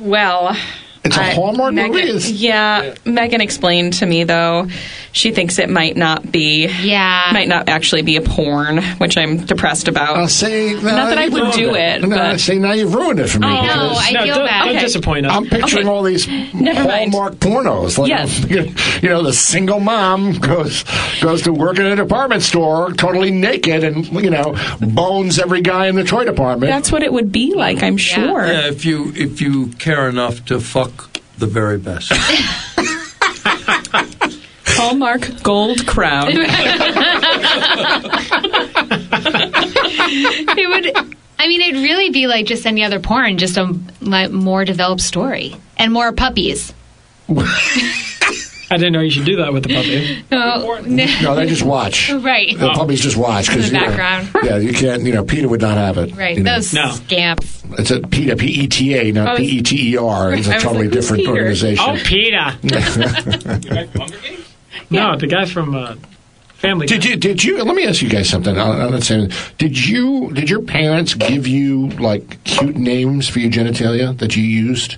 S4: Well,
S1: It's a
S4: I-
S1: Hallmark
S4: Megan,
S1: movie. It's-
S4: Yeah, Megan explained to me though she thinks it might not be. Yeah, might not actually be a porn, which I'm depressed about. I'll
S1: say
S4: not that I would do it.
S1: No,
S4: but
S1: see, now you've ruined it for me.
S4: I know,
S1: because-
S4: I Oh, No, feel don't- bad. don't disappoint us.
S1: I'm picturing
S4: Okay.
S1: all these
S4: Never mind.
S1: Hallmark pornos. Like,
S4: Yes.
S1: you know, the single mom goes goes to work in a department store, totally naked, and you know, bones every guy in the toy department.
S4: that's what it would be like. I'm sure.
S7: Yeah, if you if you care enough to fuck the very best.
S4: Hallmark Gold Crown.
S11: it would. I mean, it'd really be like just any other porn, just a like, more developed story and more puppies.
S5: I didn't know you should do that with the puppy.
S11: Oh,
S1: No, they just watch.
S11: Right.
S1: The puppies just watch
S11: In the
S1: because
S11: background.
S1: yeah, you can't. You know, Peter would not have it.
S11: Right.
S1: you know.
S11: Those scamps.
S1: It's a PETA, P E T A,
S11: I
S4: Oh,
S1: not
S11: was-
S1: P E T E R. It's
S11: I
S1: a
S11: was
S1: totally
S11: like, who's
S1: different
S11: Peter?
S1: organization.
S5: Oh, PETA. No, the guy from uh, Family
S1: Did you? Did you? Let me ask you guys something. I'm I'm not saying. Did you? Did your parents give you like cute names for your genitalia that you used?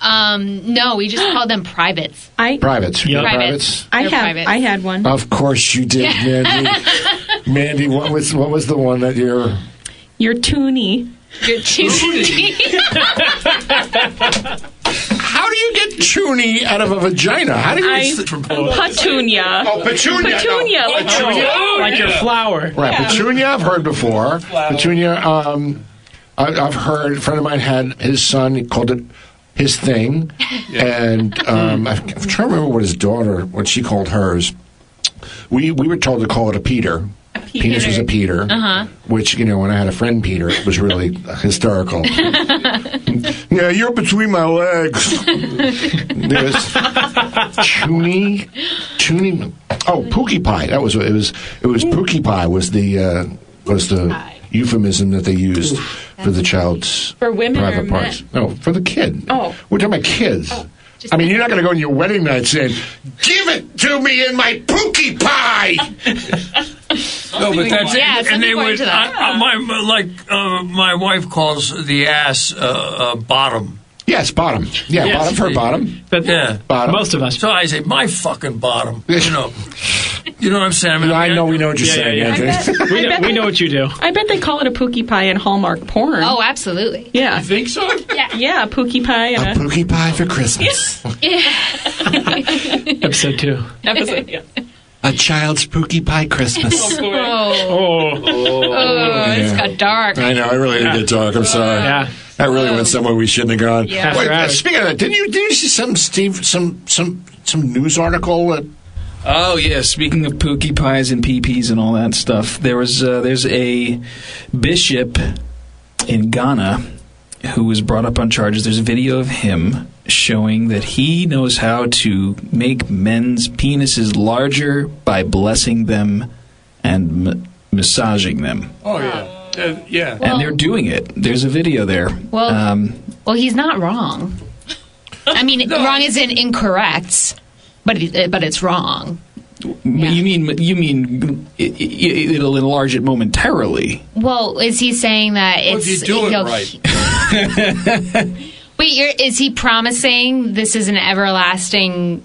S11: Um, no, we just called them privates.
S4: I
S1: Privates. You got Privates.
S4: I have. I had one.
S1: Of course you did, Mandy. Mandy, what was what was the one that your
S4: Your toonie.
S11: Your toonie.
S1: How do you get chuny out of a vagina? How do you?
S4: I, petunia.
S1: Oh, petunia.
S4: Petunia.
S1: No.
S4: like-
S1: Petunia. Oh,
S5: Like your flower.
S1: Right, Petunia, I've heard before. Petunia, um, I, I've heard. A friend of mine had his son. He called it his thing, and um, I, I'm trying to remember what his daughter, what she called hers. We we were told to call it a Peter. Penis was a Peter,
S5: Uh-huh.
S11: Uh
S1: which you know when I had a friend Peter, it was really hysterical.
S11: huh.
S1: yeah, you're between my legs. There's Chuny, Chuny. Oh, Pookie Pie. That was what it was. It was Pookie Pie was the uh, was the euphemism that they used for the child's
S4: For women or
S1: private parts. No, for the kid.
S4: Oh.
S1: we're talking about kids. I mean, you're not going to go on your wedding night saying, "Give it to me in my Pookie Pie."
S7: No, but that's
S1: Yeah,
S7: and,
S1: something
S7: they
S1: going
S7: would
S1: to that.
S7: I- I- my, my- like uh, my wife calls the ass uh, uh, bottom.
S1: Yes, bottom. Yeah,
S7: Yes.
S1: bottom for bottom.
S7: yeah,
S1: bottom.
S7: Most of us. So I say my fucking bottom. You know, you know what I'm saying. I, mean,
S1: I know we know what you're saying. Anthony.
S5: We know, we know what you do.
S4: I bet they call it a pookie pie in Hallmark porn.
S11: oh, absolutely.
S4: yeah. You
S7: think so?
S4: Yeah. Yeah, a pookie pie. And
S1: A Pookie Pie for Christmas.
S5: Episode two.
S4: Episode, yeah.
S1: A child's Pookie Pie Christmas.
S5: Oh.
S11: Oh, it's
S1: Yeah.
S11: got dark.
S1: I know. I really did get dark. I'm sorry. Yeah. That really went somewhere we shouldn't have gone.
S11: Yeah.
S1: Wait,
S11: After
S1: uh,
S11: hours.
S1: speaking of that, didn't you, didn't you see some Steve, some some some news article that
S6: Oh yeah, speaking of pookie pies and peepees and all that stuff, there was uh, there's a bishop in Ghana who was brought up on charges. There's a video of him showing that he knows how to make men's penises larger by blessing them and m- massaging them.
S17: Oh yeah, Uh, yeah.
S6: and they're doing it. There's a video there.
S11: Well-
S6: um,
S11: Well, he's not wrong. I mean, wrong isn't incorrect, but it, but it's wrong.
S6: you mean you mean it, it, it'll enlarge it momentarily.
S11: Well, is he saying that it's you know, Wait, you're, is he promising this is an everlasting?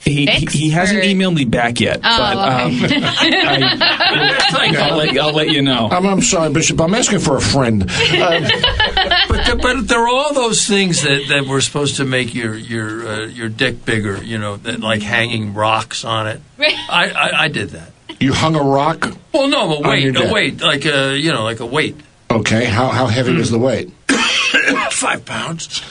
S6: He, he, he hasn't emailed me back yet,
S11: Oh,
S6: but um,
S11: okay.
S6: I'll, let, I'll let you know.
S1: I'm, I'm sorry, Bishop. I'm asking for a friend.
S3: but, there, but there are all those things that, that were supposed to make your your uh, your dick bigger. You know, that, like hanging rocks on it. I, I, I did that.
S1: you hung a rock.
S3: Well, no,
S1: On
S3: a weight,
S1: your
S3: a
S1: dick.
S3: weight, like a you know, like a weight.
S1: Okay, how how heavy was the weight?
S3: Five pounds.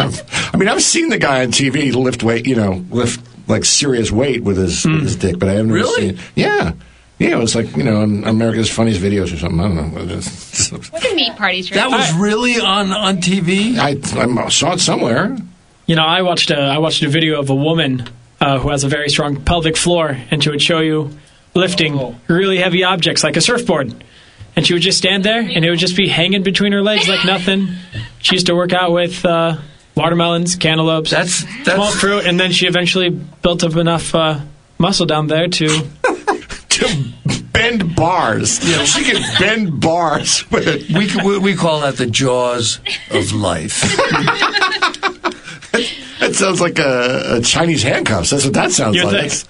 S1: I mean, I've seen the guy on TV lift weight. You know, lift like serious weight with his with
S3: Hmm.
S1: his dick, but I haven't really seen it. Yeah. Yeah, it was like you know, on America's Funniest Videos or something. I don't know. what it is.
S11: What a neat party trick!
S3: That was really on on TV.
S1: I, I saw it somewhere.
S5: You know, I watched a I watched a video of a woman uh, who has a very strong pelvic floor, and she would show you lifting really heavy objects like a surfboard, and she would just stand there, and it would just be hanging between her legs like nothing. She used to work out with uh, watermelons, cantaloupes,
S3: that's,
S5: small fruit, and then she eventually built up enough uh, muscle down there to
S1: bend bars. She can bend bars with it.
S3: We, c- we we call that the jaws of life.
S1: That sounds like a, a Chinese handcuffs. That's what that sounds
S3: You
S1: like.
S3: think?
S1: That's-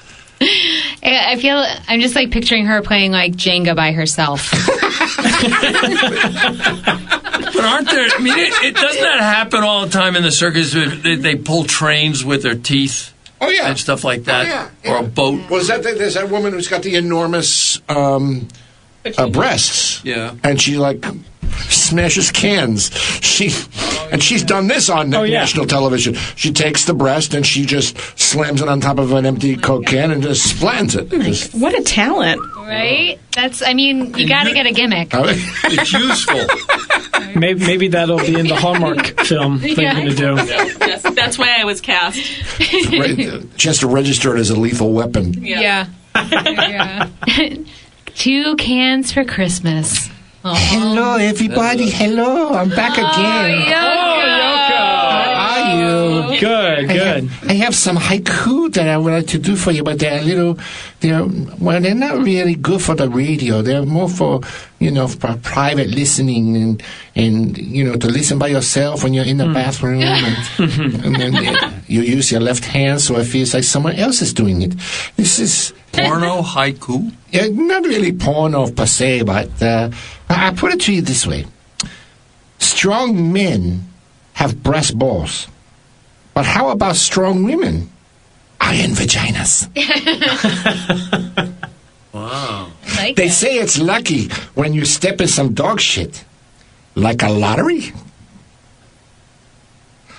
S11: I I feel I'm just like picturing her playing like Jenga by herself.
S3: But aren't there? I mean, it, it doesn't that happen all the time in the circus? They, they pull trains with their teeth.
S1: Oh yeah, Oh,
S3: and stuff like that,
S1: yeah,
S3: or a boat.
S1: Was that the, there's that woman who's got the enormous um, uh, breasts?
S3: Yeah.
S1: and she like smashes cans. She and she's done this on national television. She takes the breast and she just slams it on top of an empty coke can and just splans it. Just-
S4: What a talent.
S11: Right? That's, I mean, you got to get a gimmick.
S3: it's useful.
S5: maybe maybe that'll be in the Hallmark film thing
S4: Yeah.
S5: to do.
S4: yes, that's why I was cast.
S1: Right, she has to register it as a lethal weapon.
S11: Yeah. yeah. Two cans for Christmas. Oh,
S1: Hello, everybody. Hello, I'm
S11: Ah,
S1: back again. How are you?
S5: Oh, Good, good.
S1: I have some haiku that I would like to do for you, but they're a little, they're well, they're not really good for the radio. They're more for you know for private listening and and you know to listen by yourself when you're in the
S5: Hmm.
S1: bathroom and, and then you use your left hand, so it feels like someone else is doing it. This is
S3: Porno haiku.
S1: yeah, not really porno per se, but uh, I I put it to you this way: strong men have breast balls, but how about strong women? Iron vaginas.
S3: Wow.
S1: They say it's lucky when you step in some dog shit, like a lottery.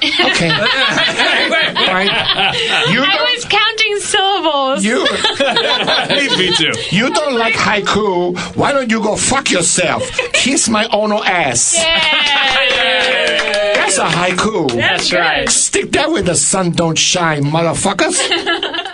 S1: Okay. You
S11: I was counting syllables.
S1: You,
S17: Me too.
S1: you don't like haiku. Why don't you go fuck yourself? Kiss my own ass. That's a haiku.
S5: That's right.
S1: Stick that where the sun don't shine, motherfuckers.